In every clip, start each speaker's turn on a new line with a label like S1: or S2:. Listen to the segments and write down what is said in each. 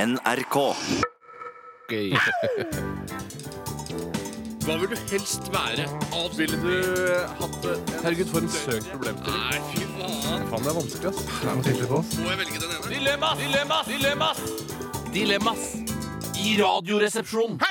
S1: NRK.
S2: Gøy.
S3: Hva vil du helst være? Ville du hatt det?
S2: Herregud, for en søkt problem.
S3: Nei, fy faen.
S2: Faen, det er vanskelig, ass.
S3: Må jeg velge den ene?
S4: Dilemmas! Dilemmas! Dilemmas! Dilemmas i Radioresepsjonen.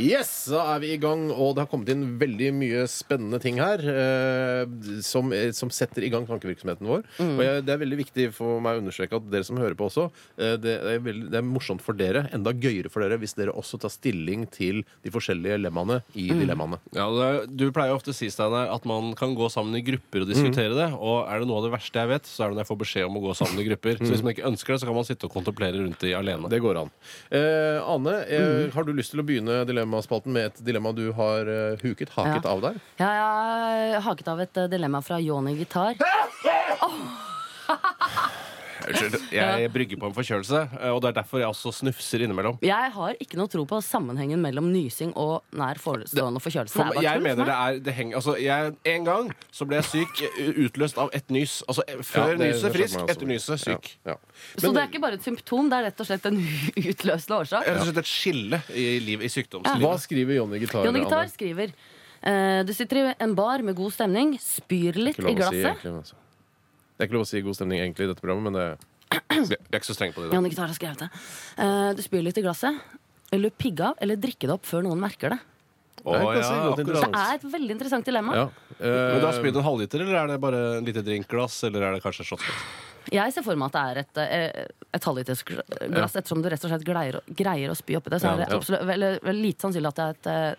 S2: Yes, da er vi i gang, og det har kommet inn veldig mye spennende ting her eh, som, eh, som setter i gang tankevirksomheten vår.
S4: Mm.
S2: Og jeg, det er veldig viktig for meg å understreke at dere som hører på også, eh, det, er veldig, det er morsomt for dere, enda gøyere for dere, hvis dere også tar stilling til de forskjellige lemmene i
S4: Mm.
S2: dilemmaene.
S4: Ja, det, du pleier jo ofte å si Steiner, at man kan gå sammen i grupper og diskutere
S2: Mm.
S4: det. Og er det noe av det verste jeg vet, så er det når jeg får beskjed om å gå sammen i grupper. Så hvis man ikke ønsker det, så kan man sitte og kontemplere rundt i alene.
S2: Mm. Det går an. Eh, Ane, eh,
S5: Mm.
S2: har du lyst til å begynne dilemmaspalten med et dilemma du har eh, huket, haket
S5: Ja.
S2: av der?
S5: Ja, jeg har haket av et eh, dilemma fra Joni Gitar.
S4: Unnskyld, jeg brygger på en forkjølelse, og det er derfor jeg også snufser innimellom.
S5: Jeg har ikke noe tro på sammenhengen mellom nysing og nær forestående forkjølelse.
S4: For,
S5: Det er bare
S4: jeg
S5: tull
S4: mener
S5: for
S4: det
S5: meg.
S4: er det henger, altså, jeg, En gang så ble jeg syk eh, utløst av ett nys. Altså eh, før
S2: Ja, det-
S4: nyset
S2: det skjønte
S4: frisk,
S2: meg også.
S4: etter nyset syk.
S2: Ja. Ja.
S5: Så det er ikke bare et symptom, det er rett og slett en utløsende årsak.
S4: Rett og slett et skille i, liv, i
S2: eh, Hva
S4: sykdomslivet.
S2: skriver Johnny Gitar?
S5: Johnny Gitar
S2: Anne?
S5: skriver eh, Du sitter i en bar med god stemning, spyr litt
S2: Ikke lov å
S5: i
S2: si,
S5: glasset.
S2: egentlig, men altså. Det er ikke lov å si god stemning egentlig i dette programmet, men det
S4: Vi er ikke så strenge på det. i dag.
S5: Johnny Gitar har skrevet det. Eh, du spyr litt i glasset. Eller pigge av, eller drikke det opp før noen merker det.
S4: Å,
S2: Det er kanskje
S4: ja,
S2: godt
S4: akkurat.
S2: interessant.
S5: Det er et veldig interessant dilemma.
S2: ja. Eh,
S4: Men du har spydd en halvliter, eller er det bare en lite drinkglass? Eller er det kanskje et shotglass?
S5: Jeg ser for meg at det er et, eh, et halvlitersglass, ettersom du rett og slett greier, greier å spy oppi det. Så
S2: Ja,
S5: er det
S2: ja.
S5: absolutt, eller, vel, lite sannsynlig at det er et eh,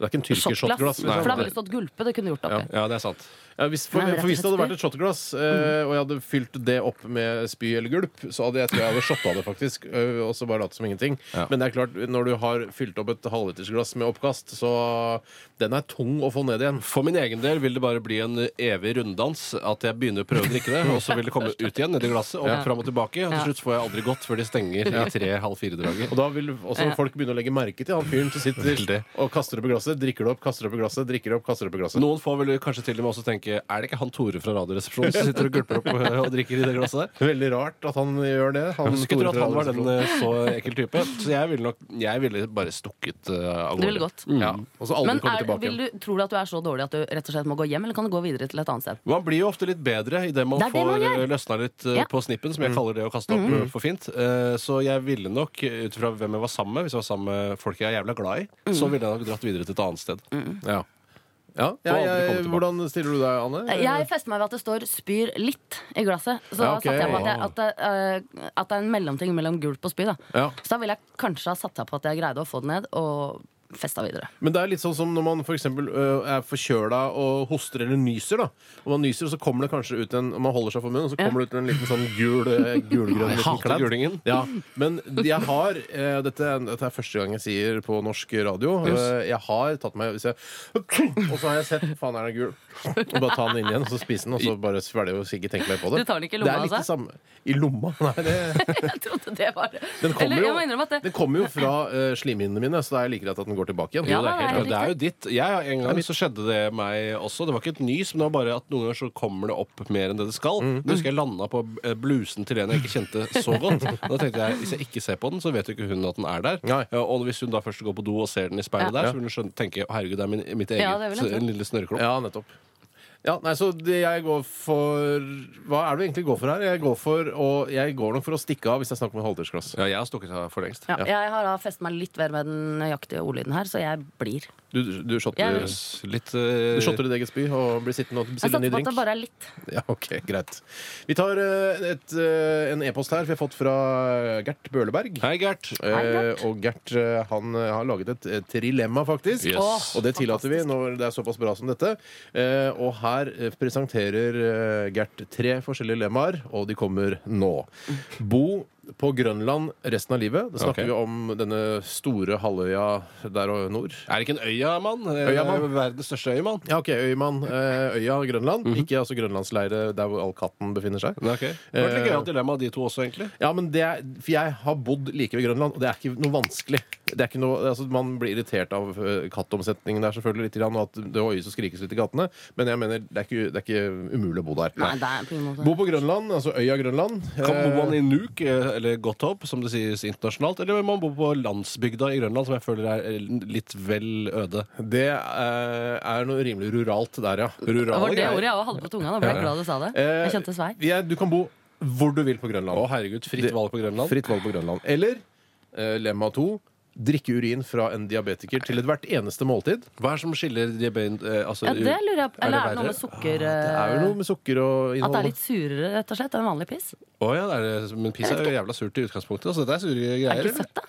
S2: det er ikke en tyrker
S5: shotglass.
S2: shotglass.
S5: For da ville
S2: Liksom.
S5: det stått gulpe. Det kunne du gjort oppi.
S4: Ja, det er sant.
S2: Ja, hvis, for,
S5: Nei, det er
S2: for hvis det hadde
S5: rett og slett Mm.
S2: vært et shotglass, eh, og jeg hadde fylt det opp med spy eller gulp, så hadde jeg tror jeg hadde shotta det, faktisk. eh, og så bare latt som ingenting.
S4: Ja.
S2: Men det er klart, når du har fylt opp et halvlitersglass med oppkast, så den er tung å få ned igjen.
S4: For min egen del vil det bare bli en evig runddans. At jeg begynner å prøve å drikke det, og så vil det komme ut igjen nedi glasset. Og fram og tilbake. Og til slutt får jeg aldri gått før de stenger i tre-halv fire-draget.
S2: Og da vil også
S5: Ja.
S2: folk begynne å legge merke til han fyren som sitter
S4: Veldig.
S2: og kaster opp i glasset, drikker det opp, kaster opp i glasset, drikker det opp, kaster opp i glasset.
S4: Noen få vil kanskje til og med også tenke Er det ikke han Tore fra Radioresepsjonen som sitter og gulper opp og, og drikker i det glasset der?
S2: Veldig rart at han gjør det.
S4: Jeg skulle tro
S2: store
S4: at han var
S2: fra-
S4: den eh, så ekkel type. Så jeg ville nok Jeg ville bare stukket eh, av
S5: Du
S4: gårde.
S5: ville gått.
S2: Ja, og så aldri
S5: Men
S2: komme
S5: er,
S2: tilbake
S5: vil
S2: igjen.
S5: du, tror du at du er så dårlig at du rett og slett må gå hjem, eller kan du gå videre til et annet sted?
S4: Man blir jo ofte litt bedre idet man
S5: Det er det
S4: får
S5: man gjør.
S4: eh, løsna litt eh,
S5: Ja. Mm.
S4: på snippen,
S2: Mm.
S4: som jeg kaller det å kaste opp eh, for fint. Eh, Så jeg ville nok, eh, ut fra hvem jeg var sammen med, hvis jeg var sammen med folk jeg er jævla glad i,
S5: Mm.
S4: så ville jeg nok dratt videre til et annet sted.
S2: Ja. Ja,
S4: aldri
S2: jeg-
S4: komme tilbake.
S2: hvordan stiller du deg, Anne?
S5: Jeg fester meg ved at det står 'spyr litt' i glasset. Så
S2: Ja,
S5: da
S2: ok.
S5: satte jeg på at, jeg, at, det, eh, at det er en mellomting mellom gulp og spy. Da.
S2: Ja.
S5: Så da ville jeg kanskje ha satt meg på at jeg greide å få det ned, og festa videre.
S2: Men det er litt sånn som når man for eksempel, ø, er forkjøla og hoster eller nyser. da Og man nyser, så kommer det kanskje ut en Man holder seg for munnen, og så kommer det ut en liten sånn gul, ø, gulgrønn
S4: Jeg
S2: liten
S4: hater
S2: kladd.
S4: gulingen.
S2: Ja, men jeg har ø, dette, er- dette er første gang jeg sier på norsk radio.
S4: Yes.
S2: ø, Jeg har tatt meg hvis jeg, Og så har jeg sett Faen, er den gul? Og bare ta den inn igjen, og så spise den, og så bare svelge og ikke tenke mer på det.
S5: Du tar den ikke i
S2: Det er
S5: lomma,
S2: litt
S5: altså?
S2: det samme. I lomma? Nei, det
S5: Jeg trodde det var det.
S2: den kommer,
S5: Eller,
S2: jo,
S5: jeg må innrømme at det,
S2: den kommer jo fra eh, slimhinnene mine, så det er like greit at den går tilbake igjen.
S5: Ja,
S2: Jo, det er
S5: da,
S2: helt-
S4: Ja,
S5: det er
S4: det er jo ditt. Jeg, en gang så skjedde det meg også. Det var ikke et nys, men det var bare at noen ganger så kommer det opp mer enn det det skal. Da husker jeg landa på eh, blusen til en jeg ikke kjente så godt. Da tenkte jeg hvis jeg ikke ser på den, så vet jo ikke hun at den er der.
S2: Nei.
S4: Ja, Og hvis hun da først går på do og ser den i speilet der, så vil hun skjønne, tenke «Å, herregud, det er min, mitt eget
S5: Ja, det vil jeg tro.
S4: en lille snørreklump.
S2: Ja, nettopp. Ja, nei, så det jeg går for Hva er det du egentlig går for her? Jeg går for å, jeg går nok for å stikke av hvis jeg snakker med halvdelsglass.
S4: Ja, jeg har stukket av for lengst.
S5: ja, jeg har da festet meg litt mer med den nøyaktige ordlyden her, så jeg blir.
S2: Du, du, shotter,
S5: Jeg-
S2: du
S4: S- Litt eh,
S2: shotter ditt eget spy og blir sittende og
S5: Jeg
S2: bestiller en ny
S5: satser på at
S2: drink?
S5: det bare er litt.
S2: Ja, ok, greit. Vi tar eh, et, eh, en e-post her vi har fått fra eh, Gert Bøhleberg.
S4: Hei, Gert.
S2: Eh, og Gert eh, han eh, har laget et, eh, trilemma, faktisk.
S4: Yes. Åh,
S2: og det tillater vi når det er såpass bra som dette. Eh, og her eh, presenterer eh, Gert tre forskjellige lemmaer, og de kommer nå. Bo på Grønland resten av livet. Da snakker
S4: Ok.
S2: vi om denne store halvøya der og nord.
S4: Er det ikke en øyamann?
S2: Øyamann.
S4: Eh, Verdens største øyamann.
S2: Ja, ok, Øymann. eh, Øya Grønland.
S5: Mhm.
S2: Ikke altså Grønlandsleire der hvor all katten befinner seg.
S4: Nei, ok. Det var et litt gøyalt dilemma, de to også, egentlig.
S2: Ja, men det er, For jeg har bodd like ved Grønland, og det er ikke noe vanskelig. det er ikke noe, altså, man blir irritert av eh, kattomsetningen der, selvfølgelig, litt, grann, og at det oies og skrikes litt i gatene, men jeg mener, det er ikke, det er ikke umulig å bo der.
S5: Nei, det er på ingen måte
S2: Bo på Grønland, altså øya Grønland.
S4: Kan
S2: Eh,
S4: bor man i Nuuk, eh, eller Gotthop, som det sies internasjonalt, eller man bor på landsbygda i Grønland, som jeg føler er eh, litt vel øde?
S2: Det eh, er noe rimelig ruralt der, ja.
S5: Det
S2: Rurale
S5: var det
S2: greier.
S5: ordet jeg også hadde på tunga. Da ble jeg glad du sa det.
S2: Eh,
S5: Jeg kjente svei.
S2: jeg- du kan bo hvor du vil på Grønland.
S4: Å herregud, fritt
S2: Det-
S4: valg på Grønland?
S2: Fritt valg på Grønland. Eller eh, lemma to. Drikke urin fra en diabetiker til ethvert eneste måltid.
S4: Hva er det som skiller diabet... eh, Altså,
S5: Ja, det lurer jeg på.
S4: det
S5: Eller er det noe med
S4: verre?
S5: sukker
S2: Det er jo
S5: eh,
S2: noe med sukker og
S5: At det er
S2: innhold.
S5: litt surere, rett og slett, enn vanlig piss?
S4: Å ja, det er, det. men piss er jo jævla surt i utgangspunktet. Altså, dette er sure greier.
S5: Er det ikke søtt, da?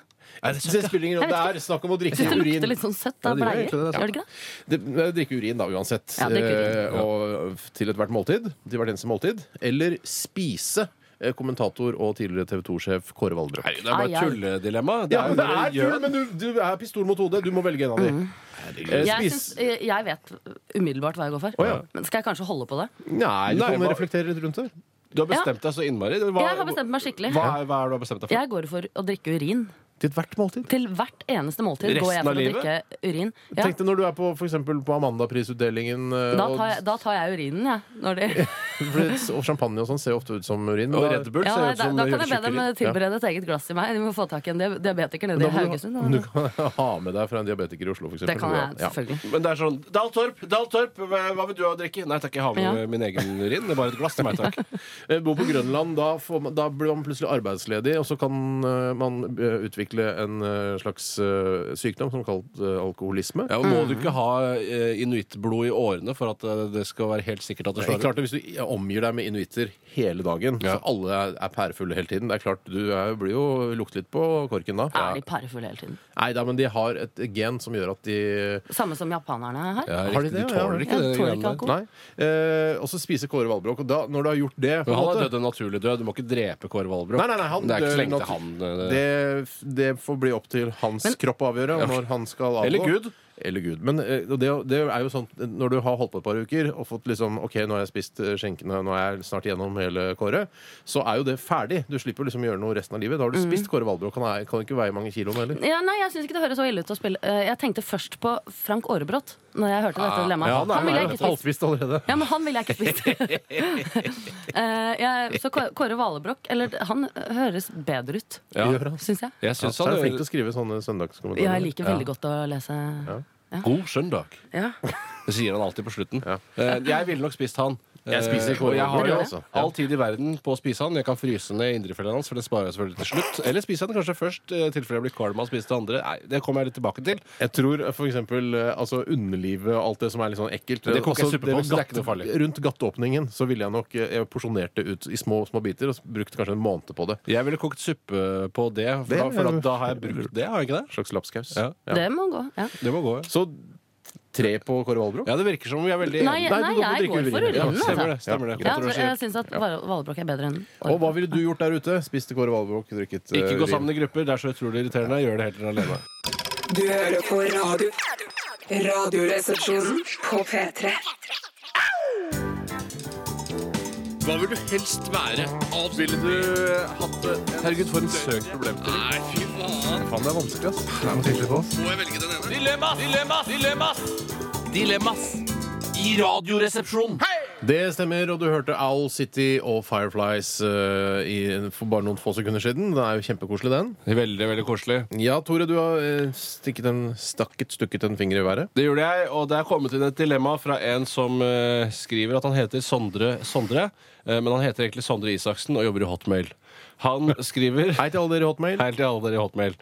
S4: Er det søtt?
S2: Det spiller ingen rolle. Det er snakk om å
S5: Jeg
S2: drikke
S5: synes det
S2: urin.
S5: lukter litt sånn søtt
S4: Ja,
S5: av
S4: det
S5: bleier.
S4: gjør egentlig det,
S5: Gjør det ikke det?
S2: Det, eh, drikke urin, da, uansett.
S5: Ja, drikke urin.
S2: Eh, og f- til ethvert måltid. Til hvert eneste måltid. Eller spise. eh, Kommentator og tidligere TV 2-sjef Kåre Valdrøk.
S4: Nei, det er bare
S5: Ai,
S4: et
S5: ai.
S4: tulledilemma. Det
S2: Ja, men
S4: er jo
S2: det
S4: dere
S2: er
S4: gjør-
S2: tull, men du, du er pistol mot hodet. Du må velge en av de. Eh,
S5: Mm. Jeg,
S2: spis
S5: syns- eh, jeg vet umiddelbart hva jeg går for.
S2: Å, ja.
S5: Men skal jeg kanskje holde på det?
S2: Nei, du
S4: Nei,
S2: kan
S4: hva-
S2: reflektere litt rundt det.
S4: Du har bestemt deg så innmari. Hva,
S5: Jeg har bestemt meg skikkelig.
S4: Hva er, hva er det du har bestemt deg for?
S5: Jeg går for å drikke urin.
S2: Til ethvert måltid.
S5: Til hvert eneste måltid går jeg
S4: Resten av
S5: for å drikke
S4: livet?
S5: urin. Ja,
S2: Tenk deg når du er på, for eksempel, på Amanda-prisutdelingen eh,
S5: da,
S2: og,
S5: tar jeg, da tar jeg urinen, jeg. Når de,
S2: for det- og champagne og sånn ser jo ofte ut som urin.
S4: Og
S2: Da-
S4: Red Bull
S5: ja,
S4: ser
S5: nei,
S4: ut
S5: da,
S4: som
S5: da kan jeg be dem
S4: julesjukker.
S5: tilberede et eget glass i meg. De må få tak i en diab- diabetiker nede
S2: Da
S5: i
S2: må
S5: Haugesund.
S2: du, du kan ha med deg fra en diabetiker i Oslo, for eksempel.
S5: Det kan jeg
S2: Ja.
S5: selvfølgelig.
S4: Men det er sånn Dahl Torp, Dahl Torp, hva hva vil du ha å drikke? Nei takk, jeg har med
S5: Ja.
S4: min egen urin. Det er bare et glass til meg, takk.
S2: Eh, Bor på Grønland, da, får man, da blir man plutselig arbeidsledig, og så kan eh, man eh, utvikle en eh, slags eh, sykdom som kalt eh, alkoholisme.
S4: Ja, og må du ikke ha eh, inuittblod i årene for at eh, det skal være helt sikkert at det
S2: Det er
S4: slår ut?
S2: klart at Hvis du omgir deg med inuitter hele dagen,
S4: Ja.
S2: så alle er, er pærefulle hele tiden Det er klart, Du er, blir jo lukter litt på korken da.
S5: Er de parefulle hele tiden?
S2: Nei da, men de har et gen som gjør at de
S5: Samme som japanerne har?
S4: Ja,
S2: Har de
S4: riktig,
S2: det,
S4: de
S2: ja?
S4: tåler
S5: Ja,
S4: ikke det. greiene
S5: de tåler ikke
S4: der.
S5: alkohol.
S2: Nei. Eh, og så spiser Kåre Valbrok. Og da, når du har gjort det på
S4: Men
S2: en
S4: han har
S2: måte-
S4: dødd en naturlig død. Du må ikke drepe Kåre Valbrok.
S2: Nei, nei, nei, han
S4: det er ikke
S2: dør
S4: slengte
S2: natu-
S4: han eh, det.
S2: det, det får bli opp til hans kropp å avgjøre og når han skal avgå.
S4: Eller Gud.
S2: Eller Gud. Men eh, og det, det er jo sånn når du har holdt på et par uker og fått liksom OK, nå har jeg spist eh, skjenkene, nå er jeg snart gjennom hele Kåre, så er jo det ferdig. Du slipper liksom å gjøre noe resten av livet. Da har
S5: Mhm.
S2: du spist Kåre Valbrok. Han er, kan ikke veie mange kiloene heller.
S5: Ja, nei, jeg synes ikke det høres så ille ut å spille. Eh, Jeg tenkte først på Frank Aarebrot når jeg hørte dette dilemmaet.
S2: Ah, Ja,
S5: han ville jeg ikke spist.
S2: halvspist allerede.
S5: Ja, men han ville jeg ikke spist. Eh, jeg, så Kå- Kåre Valebrokk Eller han høres bedre ut,
S4: Ja.
S2: Gjør han.
S5: syns jeg.
S4: Jeg
S2: Ja,
S4: syns
S2: så er
S4: han
S2: du flink til
S4: er
S2: å skrive sånne søndagskommentarer.
S5: Jeg liker veldig godt å lese
S4: god søndag.
S5: ja.
S4: Det sier han alltid på slutten.
S2: Ja.
S4: Eh, Jeg ville nok spist han.
S2: Jeg spiser
S4: Eh,
S2: Kåre
S4: og jeg har
S2: Valbrok,
S4: jo
S2: altså. Ja.
S4: all tid i verden på å spise han. Jeg kan fryse ned indrefileten hans, for den sparer jeg selvfølgelig til slutt. Eller spise han kanskje først, i tilfelle jeg blir kvalm av å spise det andre. Nei, det kommer jeg litt tilbake til.
S2: Jeg tror f.eks. altså underlivet og alt det som er litt sånn ekkelt
S4: Det koker jeg suppe på,
S2: det-
S4: så det er ikke noe farlig.
S2: Rundt gatteåpningen så ville jeg nok eh, jeg porsjonert det ut i små, små biter og brukt kanskje en måned på det.
S4: Jeg ville kokt suppe på det, for,
S2: Det
S4: da, for
S2: er-
S4: at da har jeg brukt det. Har jeg ikke det?
S2: Slags lapskaus.
S4: Ja.
S5: Det må gå. Ja.
S4: Det må gå, ja.
S2: Så tre på Kåre Valbrok.
S4: Ja, det virker som vi er veldig
S2: Nei,
S5: Nei, nei,
S2: du må
S5: jeg
S2: drikke
S5: går for
S2: urinen. Ja,
S5: urinen,
S4: Stemmer det.
S5: altså.
S4: stemmer det.
S5: Ja,
S4: Godt å
S5: for
S4: si.
S5: jeg syns at Val- Valebrokk er bedre enn
S2: Og hva
S5: Aarebrot.
S2: ville du gjort der ute? Spiste Kåre Valbrok, drikket eh,
S4: Ikke gå
S2: urin.
S4: sammen i grupper. Det er så utrolig irriterende. Gjør det helt alene.
S1: Du hører på radio. Radioresepsjonen på P3.
S3: Hva vil du helst være? Absolutt.
S6: Ville du hatt en
S4: Herregud, for en søk problem.
S3: Nei, fy faen.
S2: Faen, det er vanskelig, ass.
S3: Må jeg velge den ene? Dilemmas! Dilemmas! Dilemmas! Dilemmas i Radioresepsjonen.
S2: Det stemmer, og du hørte Owl City og Fireflies eh, i, for bare noen få sekunder siden. Den er jo kjempekoselig, den.
S4: Veldig, veldig koselig.
S2: Ja, Tore, du har eh, stikket en, stakket, stukket en finger i været.
S4: Det gjorde jeg, og det er kommet inn et dilemma fra en som eh, skriver at han heter Sondre Sondre, eh, men han heter egentlig Sondre Isaksen og jobber i Hotmail. Han skriver
S2: Hei til alle dere i Hotmail.
S4: Hei til alle dere i Hotmail.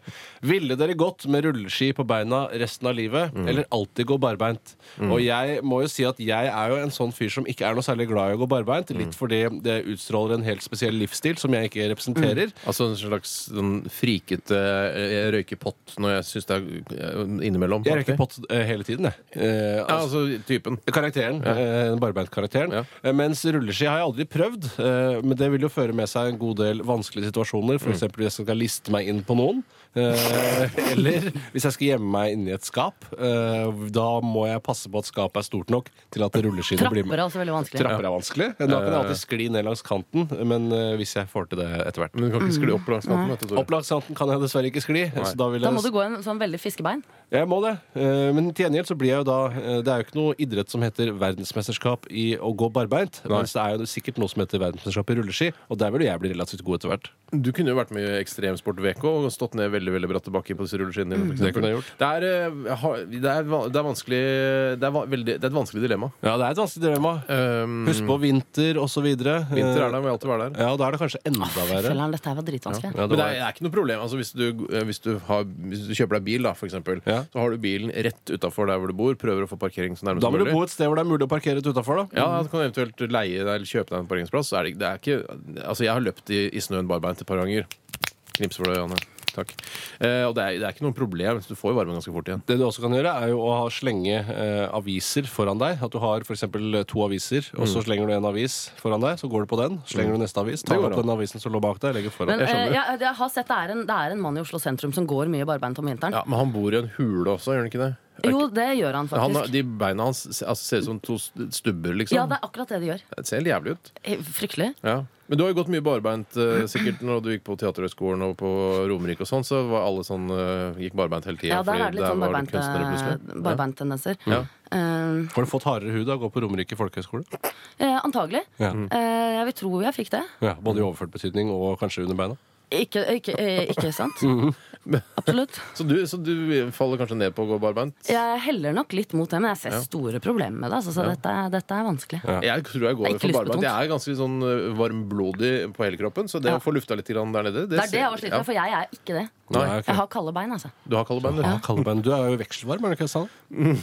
S4: Ville dere gått med rulleski på beina resten av livet, eller alltid gå barbeint? Og jeg må jo si at jeg er jo en sånn fyr som ikke er noe særlig glad i å gå barbeint, litt fordi det utstråler en helt spesiell livsstil som jeg ikke representerer.
S2: Altså en slags sånn frikete eh, Jeg røyker pott når jeg syns det er eh, innimellom.
S4: Jeg røyker pott eh, hele tiden, jeg. Eh,
S2: Ja, altså typen.
S4: Karakteren. Eh, Barbeint-karakteren.
S2: Ja.
S4: Eh, mens rulleski har jeg aldri prøvd. Eh, men det vil jo føre med seg en god del vanskelige situasjoner,
S2: Mm.
S4: f.eks. hvis jeg skal liste meg inn på noen, eh, eller hvis jeg skal gjemme meg inni et skap, eh, da må jeg passe på at skapet er stort nok til at rulleskinnet blir
S5: Trapper
S4: med.
S5: er også veldig vanskelig.
S4: Trapper er vanskelig. Eh, Da kan jeg alltid skli ned langs kanten, men eh, hvis jeg får til det etter hvert.
S2: Men du kan ikke skli opp langs kanten. vet du, Tore.
S4: Opp langs kanten kan jeg dessverre ikke skli. Så da, vil
S5: Da må du
S4: jeg,
S5: gå en sånn veldig fiskebein.
S4: jeg må det. Eh, Men til gjengjeld så blir jeg jo da eh, Det er jo ikke noe idrett som heter verdensmesterskap i å gå barbeint. Mens det er jo sikkert noe som heter verdensmesterskap i rulleski, og der vil jo jeg bli relativt god etter hvert.
S2: Du kunne jo vært med i Ekstremsport VK og stått ned veldig veldig bratte bakker på disse rulleskinnene. dine, for
S4: Mm. Det kunne jeg
S2: eksempel. Det er, eh, ha- det er, va- det er vanskelig det er, va- veldig, det er et vanskelig dilemma.
S4: Ja, det er et vanskelig dilemma.
S2: Um,
S4: Husk på vinter osv. Eh.
S2: Vinter er der, må jeg alltid være der.
S4: Ja, da er Ehm, det Ah, kanskje enda verre.
S5: Følgeren, dette her var dritvanskelig.
S4: Ja,
S2: Men det
S4: det
S2: er,
S4: var,
S2: det er ikke noe problem. Altså, hvis, du, eh, hvis, du har, hvis du kjøper deg bil, da, for eksempel,
S4: Ja.
S2: så har du bilen rett utafor der hvor du bor, prøver å få parkering så nærme
S4: da
S2: som
S4: må du
S2: mulig.
S4: bo et sted hvor det er mulig å parkere ut utafor, da.
S2: Ja, Du kan eventuelt leie deg eller kjøpe deg en parkeringsplass. Så er det, det er ikke, altså, jeg har løpt i, i snøen barbeint et par ganger. Knips for det, Janne. Takk. Eh, og det er, det er ikke noe problem. så Du får jo varme ganske fort igjen.
S4: Det du også kan gjøre, er jo å ha slenge eh, aviser foran deg. At du har f.eks. to aviser, og så slenger du en avis foran deg. Så går du på den, slenger du neste avis, tar
S2: går
S4: opp
S2: an.
S4: den avisen som lå bak deg, legger foran.
S5: Men
S4: deg.
S5: eh, jeg, jeg har sett det er, en, det er en mann i Oslo sentrum som går mye barbeint om vinteren.
S2: Ja, Men han bor i en hule også, gjør han ikke det? Er
S5: Jo,
S2: ikke-
S5: det gjør han
S2: han,
S5: faktisk.
S2: har- de beina hans se- altså, ser ut som to st- stubber, liksom.
S5: Ja, det er akkurat det de gjør.
S2: Det ser helt jævlig ut.
S5: Eh, Fryktelig.
S2: Ja. Men du har jo gått mye barbeint eh, sikkert når du gikk på Teaterhøgskolen og på Romerike og sånn, så var alle sånn eh, gikk barbeint hele tida.
S5: Ja, der
S2: fordi
S5: er det litt sånn
S2: var det
S5: barbeinte-
S2: kunstnere plutselig. Ja.
S5: barbeint-tendenser.
S2: Ja.
S5: Eh,
S4: Har du fått hardere hud av å gå på Romerike folkehøgskole?
S5: eh, antagelig.
S4: Ja.
S5: Eh, jeg vil tro jeg fikk det.
S4: Ja, både i overført betydning og kanskje under beina?
S5: Ikke, ikke, eh, ikke sant?
S2: Mhm.
S5: Absolutt.
S2: Så, du, så du faller kanskje ned på å gå barbeint?
S5: Jeg heller nok litt mot det, men jeg ser store problemer med det. Altså, så dette, er- dette er vanskelig.
S2: Jeg tror jeg
S5: Det er
S2: går
S5: ikke
S2: for barbeint.
S5: lystbetont.
S2: Jeg er ganske sånn eh, varmblodig på hele kroppen, så det
S5: Ja.
S2: å få lufta litt grann der nede
S5: Det er det jeg
S2: ser-
S5: var sliten med, for jeg er ikke det.
S2: Nei.
S4: Nei, ok.
S5: Jeg har kalde bein, altså.
S2: Du har kalde bein, du.
S4: Ja, kalde bein. Du er jo vekselvarm, er du ikke sant?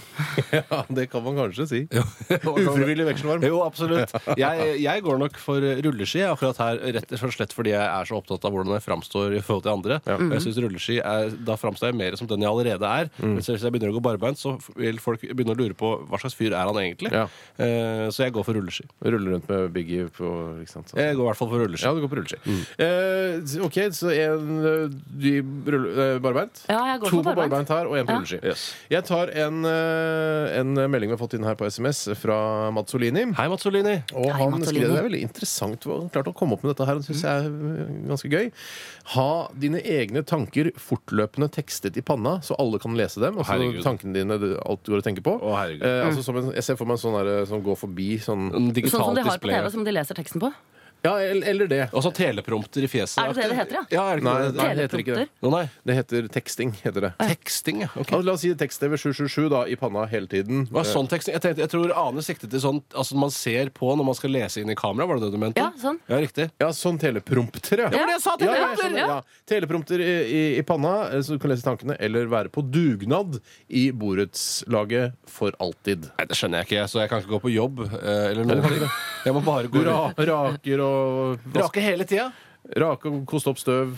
S2: Ja, det kan man kanskje si. Ufrivillig vekselvarm.
S4: Jo, absolutt. Jeg, jeg går nok for rulleski akkurat her, rett og slett fordi jeg er så opptatt av hvordan jeg framstår i forhold til andre. Og
S5: Mhm.
S4: jeg synes rulleski er, Da framstår jeg mer som den jeg allerede er. Men så hvis jeg begynner å gå barbeint, så vil folk begynne å lure på hva slags fyr er han egentlig.
S2: Ja.
S4: Eh, så jeg går for rulleski.
S2: Ruller rundt med Biggie på ikke sant? sånn.
S4: Jeg går i hvert fall for rulleski.
S2: Ja, du går på rulleski. Eh, ok, så en eh, dyp rulle, eh, barbeint.
S5: Ja, jeg går
S2: to
S5: for
S2: på
S5: barbeint.
S2: barbeint her og en på
S5: Ja.
S2: rulleski.
S4: Yes.
S2: Jeg tar en, eh, en melding vi har fått inn her på SMS fra Mazzolini.
S4: Hei, Mats Olini.
S2: Og
S5: Hei,
S2: han
S5: Mazzolini.
S2: skriver, Det er veldig interessant hvor han klarte å komme opp med dette her. Det synes jeg er eh, ganske gøy. Ha dine egne tanker fortløpende tekstet i panna, så alle kan lese dem. Altså
S4: herregud.
S2: tankene dine, det- alt du går og tenker på.
S4: Å, herregud.
S2: eh, altså, som en, jeg ser for meg en sånn der, eh, som går forbi sånn
S4: En
S5: Sånn som
S4: digital
S5: de har på
S4: display.
S5: TV, som de leser teksten på.
S2: Ja, eller, eller det.
S4: Og så teleprompter i fjeset.
S5: Er det det det heter, ja?
S4: ja er det ikke
S2: Nei,
S4: det?
S2: nei, det heter ikke det.
S5: Teleprompter.
S4: Å, nei.
S2: Det heter teksting, heter det.
S4: Teksting, ja. Ok.
S2: Ja, la oss si tekst-TV 777 da, i panna hele tiden.
S4: Hva er sånn teksting? Jeg, tenkte, jeg tror Ane siktet til sånn altså man ser på når man skal lese inn i kamera. Var det det du mente?
S5: Ja, sånn.
S4: Ja, riktig.
S2: Ja, sånn teleprompter, ja.
S5: var det jeg sa,
S2: Ja, ja, jeg
S5: teleprompter,
S2: skjønner, ja. Teleprompter i, i, i panna, eh, så du kan lese tankene, eller være på dugnad i borettslaget for alltid.
S4: Nei, Det skjønner jeg ikke, så jeg kan ikke gå på jobb eh, eller noe. Jeg må bare
S2: Du
S4: gå
S2: ra, raker og vask-
S4: Rake hele tida?
S2: Rake og koste opp støv.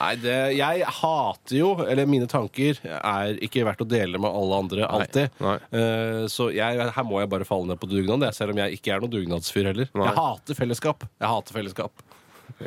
S4: Nei, det, jeg hater jo Eller mine tanker er ikke verdt å dele med alle andre alltid.
S2: nei.
S4: Eh, så jeg, her må jeg bare falle ned på dugnad, jeg, selv om jeg ikke er noen dugnadsfyr heller.
S2: Nei.
S4: Jeg hater fellesskap. Jeg hater fellesskap.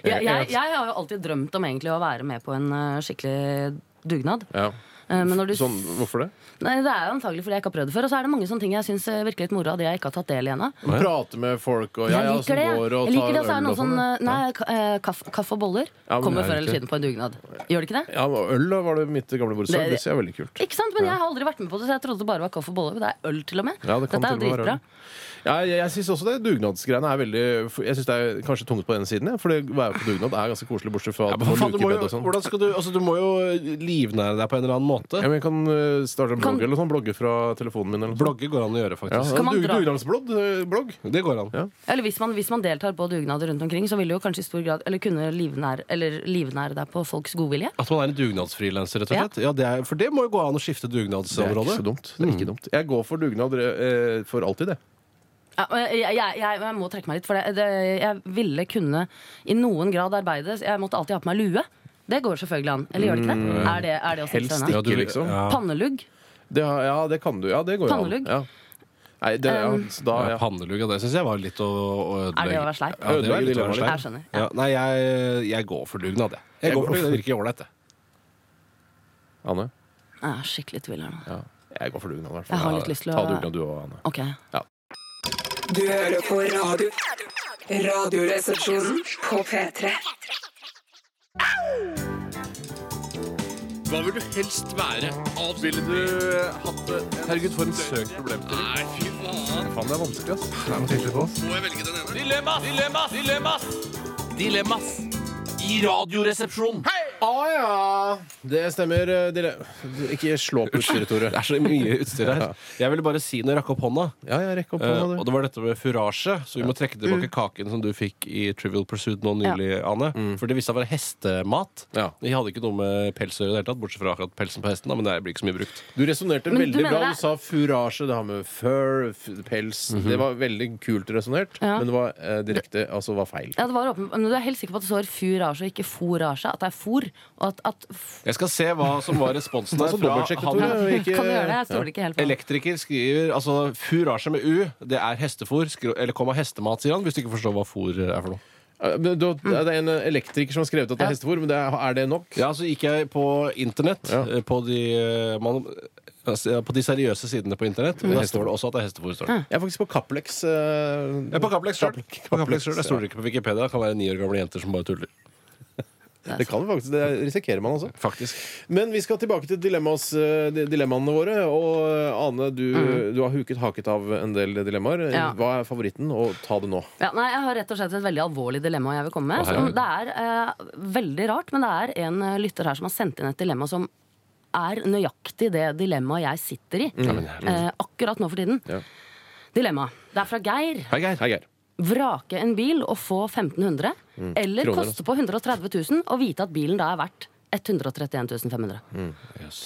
S5: Jeg, jeg, jeg har jo alltid drømt om egentlig å være med på en eh, skikkelig dugnad.
S2: Ja.
S5: Eh, Men når du,
S2: Sånn, hvorfor det?
S5: nei, det er jo antagelig fordi jeg ikke har prøvd det før. Og så er det mange sånne ting jeg syns eh, virker litt moro av det jeg ikke har tatt del i ennå.
S2: Prate med folk og ja,
S5: Jeg
S2: ja,
S5: liker
S2: som
S5: det.
S2: går og
S5: Jeg liker det,
S2: tar
S5: så er det
S2: øl
S5: noe
S2: og
S5: sånn
S2: sånn. ja.
S5: eh, Nei, ka- eh, kaffe, kaffe og boller
S2: Ja, men
S5: kommer
S2: det er ikke-
S5: før eller siden på en dugnad. Gjør det ikke det?
S2: Ja, men Øl da, var det mitt gamle borettslag.
S5: Det-
S2: Det ser jeg veldig kult.
S5: Ikke sant, Men jeg har aldri vært med på det, så jeg trodde det bare var kaffe og boller. Men det er øl, til og med.
S2: Ja, det kan
S5: Dette er
S2: til og
S5: jo
S2: med være
S5: dritbra.
S2: øl. Ja, jeg, jeg syns også det dugnadsgreiene er veldig Jeg synes det er kanskje tungt på den siden, jeg, for det å være på dugnad er ganske koselig, bortsett fra
S4: Ja,
S2: at
S4: men
S2: man
S4: faen, du,
S2: luker
S4: må
S2: bed
S4: jo,
S2: og sånn.
S4: hvordan skal du, altså, du må jo livnære deg på en eller annen måte.
S2: Ja, men jeg kan øh, starte en blogg
S5: Kan-
S2: eller noe sånt. Blogge fra telefonen min eller noe sånt.
S4: Blogge går an å
S2: Ja,
S4: gjøre, faktisk.
S5: Skal man
S2: dug-
S5: dra-
S2: Dugnadsblogg. øh, blogg.
S4: Det går an.
S2: Ja.
S5: Eller hvis man, hvis man deltar på dugnader rundt omkring, så vil du jo kanskje i stor grad Eller kunne livnære, eller livnære deg på folks godvilje.
S4: At man er en dugnadsfrilanser, rett og
S5: Ja.
S4: slett. Ja, det er, for det må jo gå an å skifte
S2: Det er ikke
S4: dugnadsområde.
S2: så dumt. Det er ikke dumt. Jeg går for dugnad øh, for alltid, jeg.
S5: Ja, og jeg, jeg, jeg, jeg må trekke meg litt, for det, det, jeg ville kunne i noen grad arbeide. så Jeg måtte alltid ha på meg lue. Det går selvfølgelig an. Eller gjør det ikke det? Er det, er det å
S2: Mm, Helst
S5: stikke seg
S2: ikke,
S5: unna?
S4: du-
S2: Sånn, liksom.
S4: ja.
S5: Pannelugg.
S2: Det, har- ja, det kan du. Ja, det går jo an.
S5: Pannelugg.
S2: Ja. Nei, det, ja,
S5: Um,
S2: så da,
S4: Ja,
S2: ja.
S4: Pannelugg av det syns jeg var litt å, å ødelegge.
S5: Er det å være sleip?
S4: Ja, det var litt å være sleip.
S5: Jeg skjønner, ja.
S4: Ja, nei, jeg, jeg går for dugnad, jeg. Jeg går for dugnad, Det virker ålreit, det.
S2: Anne?
S5: Jeg er skikkelig i tvil her nå.
S2: Ja. Jeg går for dugnad, i hvert fall.
S5: Jeg har
S2: Ja,
S5: litt lyst til å-
S2: Ta dugnad, du òg, Anne.
S5: Ok.
S1: Du hører på radio. Radioresepsjonen på P3.
S3: Hva vil du helst være? Ville du hatt det? Herregud, for en søk problemstilling. Nei, fy faen.
S2: Faen, det er vanskelig, ass.
S3: Må jeg velge den ene? Dilemmas! Dilemmas! Dilemmas! Dilemmas i Radioresepsjonen.
S2: Å ja! Det stemmer. eh, Dere... Ikke slå på utstyret, Tore.
S4: Det er så mye utstyr her. Jeg ville bare si når jeg rakk opp hånda.
S2: Ja, ja, rekk opp
S4: eh, og
S2: hånda, du.
S4: det var dette med furasje, så vi må trekke tilbake
S2: Mm.
S4: kaken som du fikk i Trivial Pursuit nå nylig, Anne. For det viste seg å være hestemat.
S2: Mm. Ja.
S4: De hadde ikke noe med pels å gjøre i det hele tatt, bortsett fra akkurat pelsen på hesten, da, men det blir ikke så mye brukt.
S2: Du resonnerte
S5: Men du
S2: veldig
S5: mener
S2: bra.
S5: det
S2: Du
S5: er-
S2: sa furasje, det har med fur, f- pels Det var veldig kult resonnert,
S5: Ja.
S2: men det var eh, direkte Altså var feil.
S5: Ja, det var åpen... Men du er helt sikker på at det står furasje og ikke forasje? At det er for? Og at, at f...
S4: Jeg skal se hva som var responsen der
S2: Altså
S4: fra
S2: dobbeltsjekk det,
S4: han
S2: Tore. og ikke-
S5: Kan du gjøre det? Jeg stoler ikke helt på det.
S4: Elektriker skriver altså furasje med u. Det er hestefôr. skro- Eller komma hestemat, sier han, hvis du ikke forstår hva fôr er for noe.
S2: Eh, men da- Det er en eh, elektriker som har skrevet at det er
S5: Ja.
S2: hestefôr, men det er, er det nok?
S4: Mm. Ja, så gikk jeg på internett,
S2: Ja.
S4: eh, på, de, eh, man, altså, ja, på de seriøse sidene på internett. Men der står det også at det er hestefôr. Står det.
S2: Jeg er faktisk på Caplex. eh,
S4: Jeg er på Kaplex sjøl.
S2: Kaplex,
S4: Jeg stoler ikke på Wikipedia. Det kan være ni år gamle jenter som bare tuller.
S2: Det kan vi faktisk, det risikerer man også.
S4: Faktisk.
S2: Men vi skal tilbake til dilemmas, eh, di- dilemmaene våre. Og eh, Ane, du,
S4: Mm.
S2: du har huket haket av en del dilemmaer.
S5: Ja.
S2: Hva er favoritten? Og ta det nå.
S5: Ja, nei, Jeg har rett og slett et veldig alvorlig dilemma jeg vil komme med.
S4: Å,
S5: som
S4: herregud.
S5: det er eh, veldig rart, men det er en eh, lytter her som har sendt inn et dilemma som er nøyaktig det dilemmaet jeg sitter i eh, akkurat nå for tiden.
S2: Ja.
S5: Dilemma. Det er fra Geir.
S2: Hei, Geir.
S5: Vrake en bil og få 1500,
S4: Mm.
S5: eller
S2: Kroner,
S5: koste på 130 000 og vite at bilen da er verdt 131 500.
S4: Mm.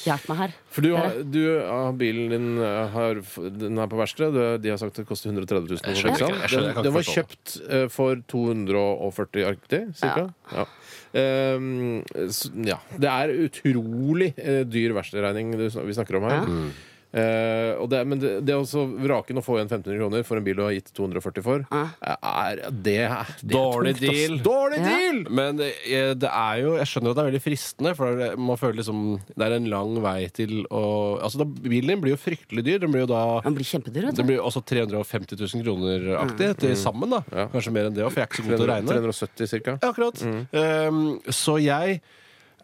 S5: Hjelp meg her.
S2: For du har, du, ja, bilen din eh, har, den er på verkstedet. Du- De har sagt det koster 130 000.
S4: Jeg skjønner
S2: ikke sant?
S4: ikke, jeg skjønner, jeg
S2: den,
S4: kan
S2: den var
S4: ikke
S2: kjøpt eh, for 240 arkitekter, cirka. Ja. Ehm, s- ja. Det er utrolig eh, dyr verkstedregning du sn- vi snakker om her.
S4: Mm.
S2: Eh, og det, men det, det å så vraken å få igjen 1500 kroner for en bil du har gitt 240 for, er, det, er, det er
S4: Dårlig
S2: tungt, ass.
S4: deal.
S2: Dårlig
S5: Ja.
S2: deal!
S4: Men eh, det er jo Jeg skjønner at det er veldig fristende, for det er- man føler liksom Det er en lang vei til å Altså, da, bilen din blir jo fryktelig dyr. Den blir jo da
S5: Den blir kjempedyr, vet
S4: Det
S5: du.
S4: blir jo også 350 000 kroner-aktig
S5: Mm.
S4: til sammen. da Kanskje mer enn det, for jeg er ikke så god til å regne.
S2: 370 cirka.
S4: Ja, akkurat.
S5: Mm.
S4: Ehm, så jeg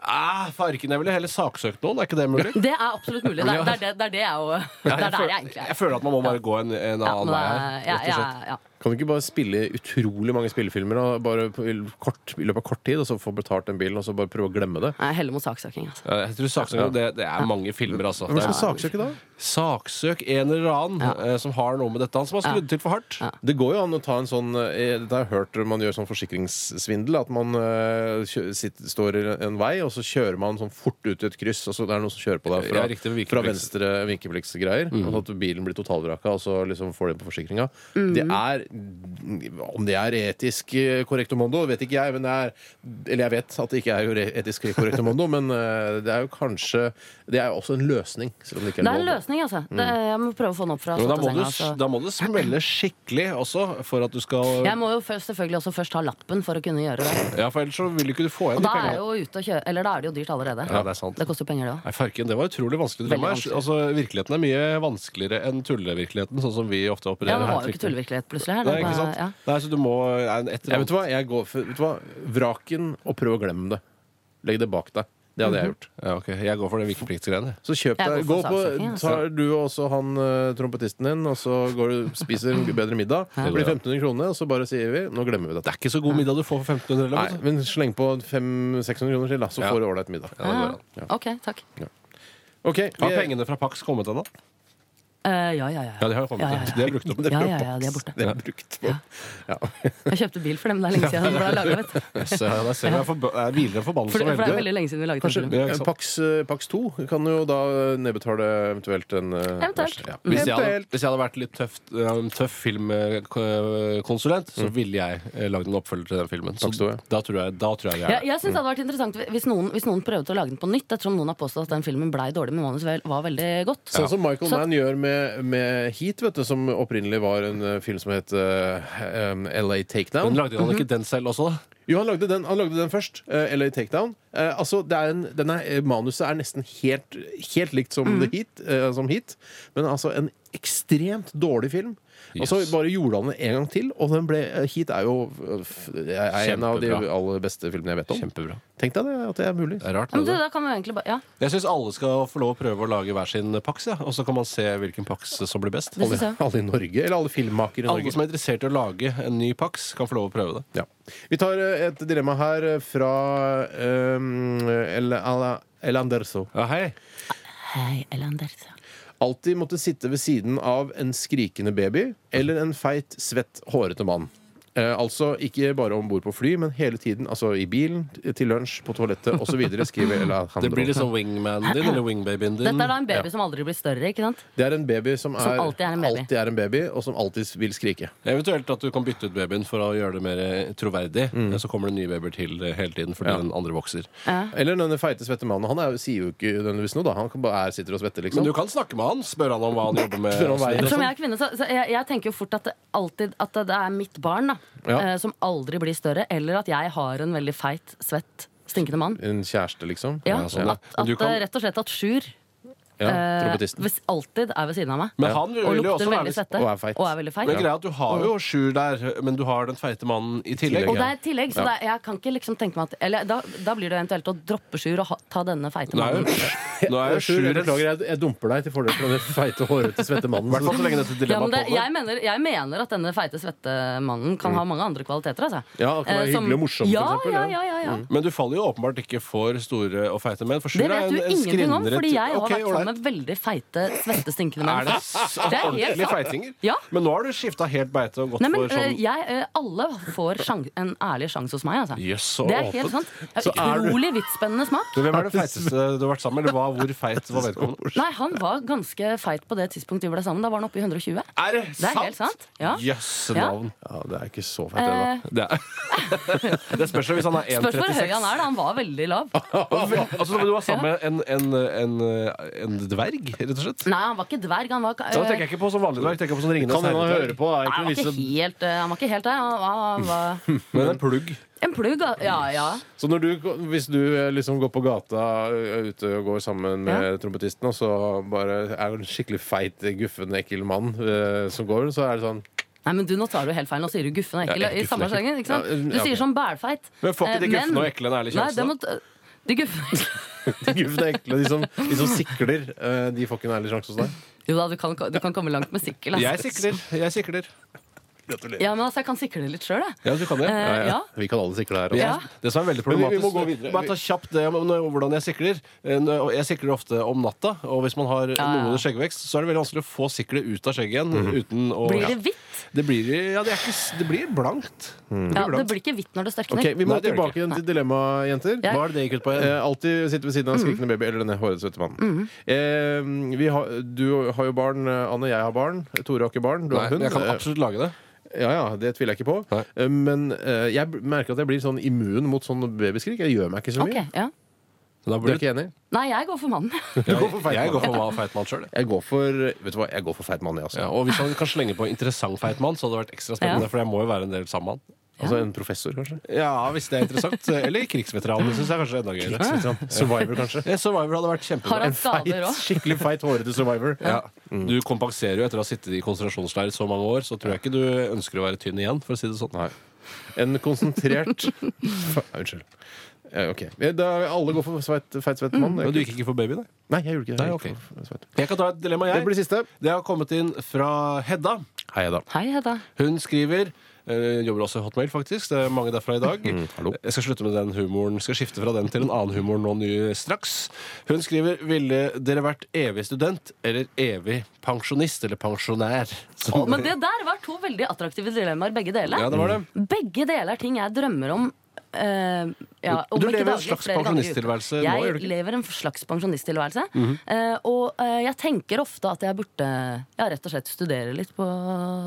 S4: Ah, farken, jeg ville heller saksøkt noen. Er ikke det mulig?
S5: Det er absolutt mulig. Det er, det er, det, det er det jeg jo Det er
S4: jeg,
S5: der
S4: føler,
S5: jeg egentlig
S4: jeg
S5: er.
S4: føler at man må bare gå en, en
S5: Ja,
S4: annen
S5: men det
S4: vei
S5: er-
S4: her.
S5: ja,
S4: Rett og slett.
S5: ja, ja.
S2: Kan du ikke bare spille utrolig mange spillefilmer da? bare på, i kort, i løpet av kort tid, og så få betalt den bilen, og så bare prøve å glemme det?
S5: Nei, Jeg heller mot saksøking. Altså.
S4: Ja, Jeg tror saksøking det, det er mange filmer, altså.
S2: Hvem
S4: Det
S2: skal
S4: er,
S2: saksøke da?
S4: saksøk en eller annen eh, som har noe med dette Han som har skrudd til for hardt.
S2: Det går jo an å ta en sånn eh, Dette har jeg hørt man gjør sånn forsikringssvindel. At man eh, kjø- sitter, står i en vei, og så kjører man sånn fort ut i et kryss, og så det er noen som kjører på deg fra,
S4: Ja, riktig, vinkelplikt.
S2: fra venstre vinkepliktsgreier. Og at bilen blir totalvraka, og så liksom får det på forsikringa. Det er Om det er etisk eh, korrekt mondo, vet ikke jeg, men det er Eller jeg vet at det ikke er jo re- etisk korrekt mondo, men eh, det er jo kanskje Det er jo også en løsning, selv om det ikke
S5: Det
S2: er
S5: er en
S2: lov.
S5: løsning, altså. Det, jeg må prøve å få den opp fra
S4: Men Mm. da må, du,
S5: sottasenga. altså.
S4: da må du smelle skikkelig også, for at du skal
S5: Jeg må jo først, selvfølgelig også først ha lappen for å kunne gjøre det.
S4: Ja, for ellers så vil du ikke få igjen
S5: Og
S4: de
S5: da er,
S4: pengene.
S5: jo ute å kjøre, eller da er det jo dyrt allerede.
S4: Ja, det er sant.
S5: koster jo penger, det òg.
S4: Nei, farken, Det var utrolig vanskelig.
S5: Veldig
S4: dilemma.
S5: vanskelig.
S4: Altså, virkeligheten er mye vanskeligere enn tullevirkeligheten, sånn som vi ofte
S5: Ja,
S4: opererer
S5: det var
S4: her,
S5: jo ikke
S4: Trygve.
S5: tullevirkelighet plutselig her.
S4: Nei,
S5: Det
S4: ikke
S5: var-
S4: sant?
S5: ja.
S4: Nei, så du må ja, en- et
S2: Jeg
S4: eller
S2: vet du hva, jeg går for vet du hva? Vraken og prøv å glemme det. Legg det bak deg. Det hadde jeg gjort.
S4: annet. Ja, ok. Jeg går for den vikepliktsgreiene.
S2: Så kjøp
S5: Mhm. Jeg
S2: deg
S5: går
S2: Gå
S5: for
S2: på,
S5: saksøking, altså.
S2: Tar du og også han eh, trompetisten din, og så går du spiser en bedre middag. Det blir 1500 kroner, og så bare sier vi nå glemmer vi
S4: Det
S2: dette.
S4: er ikke så god middag du får for 1500 eller
S2: Nei,
S4: noe.
S2: men sleng på 500-600 kroner til, da, så
S4: Ja.
S2: får du ålreit middag.
S4: Ja, det går an.
S5: Ja. OK, takk.
S2: Ok,
S4: Har
S2: vi-
S4: pengene fra Pax kommet ennå?
S5: Eh, ja, ja, ja.
S4: Ja, de har jo kommet.
S5: Ja, ja, ja.
S4: De er brukt opp.
S5: Ja, ja, ja, de er borte.
S2: Det er brukt på. Ja.
S5: Jeg kjøpte bil for dem, det er lenge siden. den ble laget, vet du.
S4: Så der ser vi jeg er forba- jeg hviler en
S5: For,
S4: forbannelse
S5: for det er
S4: over
S5: veldig lenge siden vi laget den
S2: Kanskje
S5: filmen.
S4: Ja, ikke sant.
S2: Pax, eh, Pax 2 kan jo da eh, nedbetale eventuelt en eh,
S5: Eventuelt. Mm.
S2: Ja.
S4: Hvis jeg, hadde,
S2: Eventuelt.
S4: hvis jeg hadde vært litt tøff, en tøff filmkonsulent, så ville jeg eh, lagd en oppfølger til den filmen. Så
S2: Pax 2, ja.
S4: da tror jeg, da tror jeg, jeg
S5: Jeg, jeg synes det hadde vært interessant hvis noen, hvis noen prøvde å lage den på nytt, ettersom noen har påstått at den filmen blei dårlig, men manus vel- var veldig godt.
S2: Sånn som Michael
S5: Så-
S2: Mann gjør med med, med Heat, vet du, som opprinnelig var en eh, film som het eh, em, LA Takedown.
S4: Men lagde han ikke den selv også, da?
S2: Jo, han lagde den, han lagde den først. eh, LA Takedown. Eh, altså, det er en, denne eh, manuset er nesten helt, helt likt som,
S4: Mm.
S2: The Heat, eh, som Heat, men altså en ekstremt dårlig film. Og så
S4: Yes.
S2: bare gjorde han det en gang til, og den ble, eh, Heat er jo eh, f- er en av de
S4: Kjempebra.
S2: aller beste filmene jeg vet om.
S4: Kjempebra.
S2: Tenk deg det, at det er mulig.
S4: Det er rart.
S5: Men du,
S4: det, da.
S5: da kan vi jo egentlig bare Ja,
S4: Jeg syns alle skal få lov å prøve å lage hver sin paks, ja. og så kan man se hvilken paks som blir best.
S5: det syns jeg.
S2: Alle i Norge, eller alle filmmakere i
S4: Alle
S2: Norge.
S4: som er interessert i å lage en ny paks, kan få lov å prøve det.
S2: Ja. Vi tar eh, et dilemma her eh, fra um, El, Ala- El Anderso.
S4: Ja, hei.
S5: Hei, Elandersa.
S2: Alltid måtte sitte ved siden av en skrikende baby eller en feit, svett, hårete mann. Eh, altså ikke bare om bord på fly, men hele tiden. Altså i bilen, til lunsj, på toalettet osv. skriver El Alejandro.
S4: Det blir litt sånn wingman din, eller wingbabyen din.
S5: Dette er da en baby som aldri blir større, ikke sant?
S2: Det er en baby som, er,
S5: alltid er en baby.
S2: alltid er en baby, og som alltid vil skrike.
S4: Eventuelt at du kan bytte ut babyen for å gjøre det mer eh, troverdig. Så kommer det nye babyer til eh, hele tiden fordi
S2: Ja.
S4: den andre vokser.
S2: Eller denne feite, svette mannen. Han er, jo- sier jo ikke nødvendigvis noe, da. Han kan bare er, sitter og svetter, liksom.
S4: Men du kan snakke med han. Spør han om hva han jobber med.
S2: Spør om veien.
S5: Som jeg er kvinne, så, så jeg, jeg tenker jo fort at det alltid at det er mitt barn da,
S2: Ja.
S5: eh, som aldri blir større, eller at jeg har en veldig feit, svett, stinkende mann.
S2: En kjæreste, liksom.
S5: Ja,
S4: sånn, ja.
S5: at,
S4: Men
S5: at
S4: du kan-
S5: eh, Rett og slett at Sjur
S2: Ja,
S5: eh,
S2: Trompetisten.
S5: hvis alltid er ved siden av meg.
S4: Men han vil
S5: og
S4: jo også
S5: lukter
S4: være
S5: veldig
S4: litt-
S5: svette.
S2: og er feit.
S5: veldig
S4: Men
S5: feit.
S4: greia er at du har jo Sjur der, men du har den feite mannen i tillegg.
S2: tillegg,
S5: Og det
S2: ja.
S5: er i tillegg, så det er- jeg kan ikke liksom tenke meg at Eller da, da blir det jo eventuelt å droppe Sjur og ha, ta denne feite
S4: Nå er
S5: mannen.
S4: jo, nå er jo
S2: Sjur,
S4: Sjur
S2: jeg beklager, jeg, jeg dumper deg til fordel for den feite, hårete, svette
S4: I hvert fall så
S2: mannen.
S4: lenge dette
S5: Ja, men
S4: dilemmaet
S5: det, jeg,
S4: pågår.
S5: mener, jeg mener at denne feite, svette mannen kan ha mange andre kvaliteter. Altså.
S2: Ja, han kan være
S5: Eh, som-
S2: hyggelig og morsom, for
S5: ja,
S2: eksempel,
S5: Ja,
S2: ja.
S5: ja, ja, ja.
S4: Men du faller jo åpenbart ikke for store og feite menn. For Sjur
S5: Det
S4: er
S5: vet
S4: en,
S5: du
S4: en
S5: ingenting om,
S4: skrinnere
S5: fordi
S4: til-
S5: jeg har
S4: Ok,
S5: vært
S4: ålreit.
S5: sammen med veldig feite, svettestinkende
S4: Er det
S5: menn.
S4: s-
S5: Det er helt
S4: ordentlige
S5: sant.
S4: feitinger?
S5: Ja.
S4: Men nå har du skifta helt beite og gått
S5: Nei, men
S4: for sånn
S5: eh, jeg, eh, Alle får sjang, en ærlig sjanse hos meg. Altså.
S4: Jøss, så
S5: det er
S4: åpent.
S5: helt sant. Jeg
S2: Så er
S5: har
S2: du-
S5: Utrolig vidtspennende smak.
S4: Men Hvem er det feiteste du har vært sammen med? Eller hva, hvor feit var vedkommende?
S5: Nei, Han var ganske feit på det tidspunktet vi ble sammen. Da var han oppe i 120.
S4: Er det
S5: Det er helt sant. Ja.
S4: Jøsse
S5: Ja.
S4: navn.
S2: Ja, det er ikke så feit, det, da.
S4: Det,
S5: Eh,
S4: er. det spørs jo hvis han er
S5: spørs hvor
S4: 1,36.
S5: høy han er. da, Han var veldig lav.
S4: Altså, du var sammen med en, en, en, en dverg, rett og slett?
S5: Nei, han var ikke dverg. Han var, eh,
S4: Da tenker jeg ikke på som vanlig dverg. tenker jeg på som Ringenes
S2: Kan hende han hører
S4: herre-dverg.
S2: på. Er
S5: nei,
S2: ikke noe
S5: han, var
S2: vits
S5: ikke
S2: i-
S5: helt, eh, han var ikke helt der. Han var, han var
S4: Men en plugg.
S5: en plugg. ah, Ja, ja.
S2: Så når du, hvis du eh, liksom går på gata eh, ute og går sammen med trompetisten, og så bare er det en skikkelig feit, guffen, ekkel mann eh, som går, så er det sånn
S5: Nei, men du, Nå tar du helt feil. Nå sier du guffen og ekkel.
S2: Ja,
S5: i
S2: guffen
S5: samme
S2: og ekkel.
S5: slengen, ikke sant?
S2: Ja,
S5: Du
S2: ja, ok.
S5: sier sånn bælfeit.
S4: Men får ikke de
S5: Eh, men-
S4: guffene og ekle en ærlig
S5: Nei,
S4: sjanse,
S5: det
S4: da?
S5: må t- de guffene
S2: De guffene, ekle, de som, de som sikler, eh, de får ikke en ærlig sjanse hos deg.
S5: Jo da, du kan, du kan komme langt med sikkel. altså.
S4: Jeg sikler. Jeg sikler.
S5: Ja, men altså, jeg kan sikle det litt sjøl, jeg.
S4: Ja, du kan det.
S5: Eh, ja.
S2: Vi kan alle sikle her.
S4: Vi-
S2: altså.
S5: Ja.
S4: Det som er veldig
S2: Men vi- vi
S4: problematisk
S2: må gå videre.
S4: Bare ta kjapt det om, om hvordan jeg sikler. Eh, nå- Jeg sikler ofte om natta, og hvis man har
S5: ja.
S4: noe så er det veldig vanskelig å få siklet ut av skjegget igjen. uten å,
S5: Blir det
S4: ja.
S5: hvitt?
S4: Det blir, ja, det, er ikke, s- det blir blankt.
S5: Ja, det blir ikke hvitt når det størkner.
S2: Ok, Vi må
S4: Nei, det gjør
S2: tilbake igjen til dilemmaet, jenter.
S5: Ja. Mm.
S4: Hva er det det gikk ut på igjen?
S2: Eh, alltid sitte ved siden av en skrikende baby eller denne hårete svette mannen. Eh, vi har, du har jo barn, eh, Anne. Jeg har barn. Tore har ikke barn. Du har
S4: Nei,
S2: hund.
S4: jeg kan
S2: Eh,
S4: absolutt lage det.
S2: Ja, ja, Det tviler jeg ikke på.
S4: Nei.
S2: Eh, Men eh, jeg b- merker at jeg blir sånn immun mot sånn babyskrik. Jeg gjør meg ikke så
S5: Ok,
S2: mye.
S5: ja.
S4: Men Da
S2: Du
S4: blir
S2: er ikke enig?
S5: Nei, jeg går for mannen.
S4: jeg, jeg går for hva feit mann sjøl.
S2: Jeg går for Vet du hva, jeg går for feit mann, jeg altså. også.
S4: Ja, og hvis han kan slenge på interessant feit mann, så hadde det vært ekstra spennende. For jeg må jo være en del sammen med han.
S2: Altså en professor, kanskje.
S4: Ja, hvis det er interessant. eh, Eller krigsveteran. Det syns jeg kanskje er enda gøyere.
S2: Litt sånn Survivor, kanskje.
S4: Ja, Survivor hadde vært
S5: Har
S4: kjempebra.
S5: han skader òg?
S2: skikkelig feit, hårete survivor.
S4: Ja. Du kompenserer jo etter å ha sittet i konsentrasjonsleir i så mange år, så tror jeg ikke du ønsker å være tynn igjen, for å si det sånn.
S2: Nei. En konsentrert Fa- Unnskyld. Eh, Ok. Eh, Da alle går for sveit, feit, svett mann.
S4: Men
S2: Det
S4: du
S2: er
S4: gikk ikke for baby, nei?
S2: kult. Nei, jeg gjorde ikke det.
S4: Nei,
S2: Jeg
S4: ok.
S2: Mm. gikk for sveit.
S4: Jeg kan ta et dilemma,
S2: Det blir
S4: jeg.
S2: siste.
S4: Det har kommet inn fra Hedda.
S2: Hei, da.
S5: Hei, Hedda.
S4: Hun skriver eh, Jobber også i Hotmail, faktisk. Det er mange derfra i dag.
S2: hallo.
S4: Jeg skal slutte med den humoren Skal skifte fra den til en annen humor nå ny straks. Hun skriver Ville dere vært evig student eller evig pensjonist eller pensjonær?
S5: Å, men det der var to veldig attraktive dilemmaer, begge deler.
S4: Ja, det var det.
S5: Begge deler er ting jeg drømmer om eh, ja,
S4: Du-
S5: om
S4: du
S5: ikke
S4: lever en
S5: daglig,
S4: slags
S5: flere dager i
S4: pensjonisttilværelse nå,
S5: uka.
S4: gjør du
S5: Jeg
S4: ikke?
S5: lever en slags pensjonisttilværelse. eh, og eh, jeg tenker ofte at jeg burde ja, rett og slett studere litt på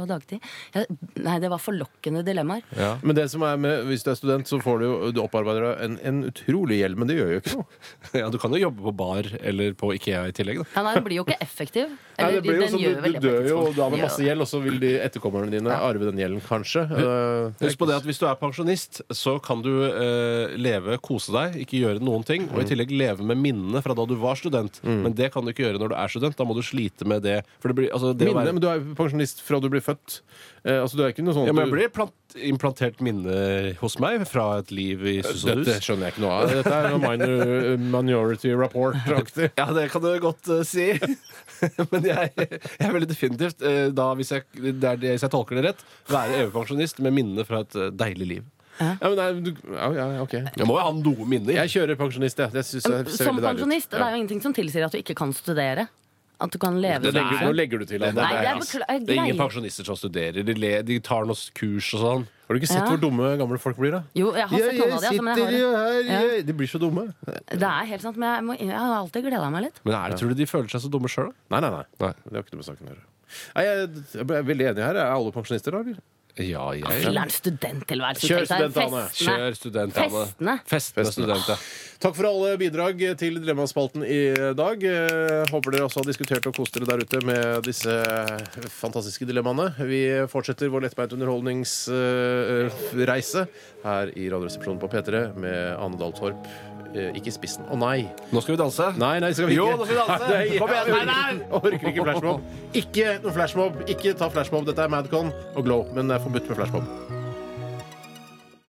S5: dagtid. Jeg, nei, det var forlokkende dilemmaer.
S2: Men det som er med, hvis du er student, så får du, jo- du opparbeider deg en, en utrolig gjeld, men det gjør jo ikke noe.
S4: Ja, Du kan jo jobbe på bar eller på Ikea i tillegg. Da.
S5: Ja, nei, den blir jo ikke effektiv. Eller,
S2: det blir jo
S5: den
S2: sånn,
S5: gjør
S2: du,
S5: vel
S2: du
S5: det på et
S2: dør jo
S5: tidspunkt.
S2: da med masse
S5: Ja.
S2: gjeld, og så vil de etterkommerne dine arve den gjelden, kanskje. Eh,
S4: Husk på det at Hvis du er pensjonist, så kan du eh, leve, kose deg, ikke gjøre noen ting. Og i tillegg leve med minnene fra da du var student. Men det kan du ikke gjøre når du er student. Da må du slite med det. For det blir, altså, det å
S2: Minne,
S4: være-
S2: men du er jo pensjonist fra du blir født. Eh, altså, du er ikke noe sånn
S4: Ja,
S2: at
S4: men jeg
S2: du-
S4: blir plant, implantert minne hos meg fra et liv i sus og
S2: Dette
S4: dus.
S2: skjønner jeg ikke noe av. Dette er noe minor, eh, minority report-aktig.
S4: Ja, det kan du godt eh, si. Men jeg, jeg vil definitivt, eh, da, hvis, jeg, det er det, hvis jeg tolker det rett, være EU-pensjonist med minnene fra et eh, deilig liv.
S2: Ja, men nei, du, ja, ja, ok.
S4: Jeg må jo ha noe minner.
S2: Jeg kjører pensjonist, jeg. Det synes jeg ser
S5: Som
S2: veldig deilig ut.
S5: pensjonist, det er jo ingenting som tilsier at du ikke kan studere. At du kan leve
S2: Det legger,
S5: som-
S2: nå legger du til at det
S5: Nei,
S2: er
S5: det er
S2: deilig.
S5: bekla- jeg
S4: Det er ingen
S5: greier-
S4: pensjonister som studerer. De, le, de tar noen kurs og sånn.
S2: Har du ikke sett
S5: Ja.
S2: hvor dumme gamle folk blir, da?
S5: Jo, jeg har sett noen av de, altså, men jeg har det.
S2: her
S5: Ja.
S2: jeg- De blir så dumme.
S5: Det er helt sant, men jeg, må, jeg har alltid gleda meg litt.
S4: Men er det, tror du de føler seg så dumme sjøl, da?
S2: Nei, nei, nei.
S4: Nei.
S2: Det har ikke noe med saken å gjøre. Nei, jeg jeg er veldig enig her. Er alle pensjonister, da? eller?
S4: Ja, jeg
S5: Filler'n, studenttilværelse.
S2: Kjør
S5: tenk deg
S2: studentane.
S5: festene.
S4: Kjør student, Anne.
S5: Festene.
S4: Festene.
S2: Festene.
S4: student, ja.
S2: Takk for alle bidrag til Dilemmaspalten i dag. Eh, Håper dere også har diskutert og kost dere der ute med disse fantastiske dilemmaene. Vi fortsetter vår lettbeint underholdningsreise eh, her i Radioresepsjonen på P3 med Ane Dahl Torp. Eh, Ikke Spissen. Å nei!
S4: Nå skal vi danse.
S2: Nei, nei, skal vi ikke.
S4: Jo, nå skal vi danse.
S2: Nei, det er-
S4: Kom igjen. Nei, nei.
S2: Jeg Orker ikke flashmob. Ikke noe flashmob. Ikke ta flashmob. Dette er Madcon og Glow, men det er forbudt med flashmob.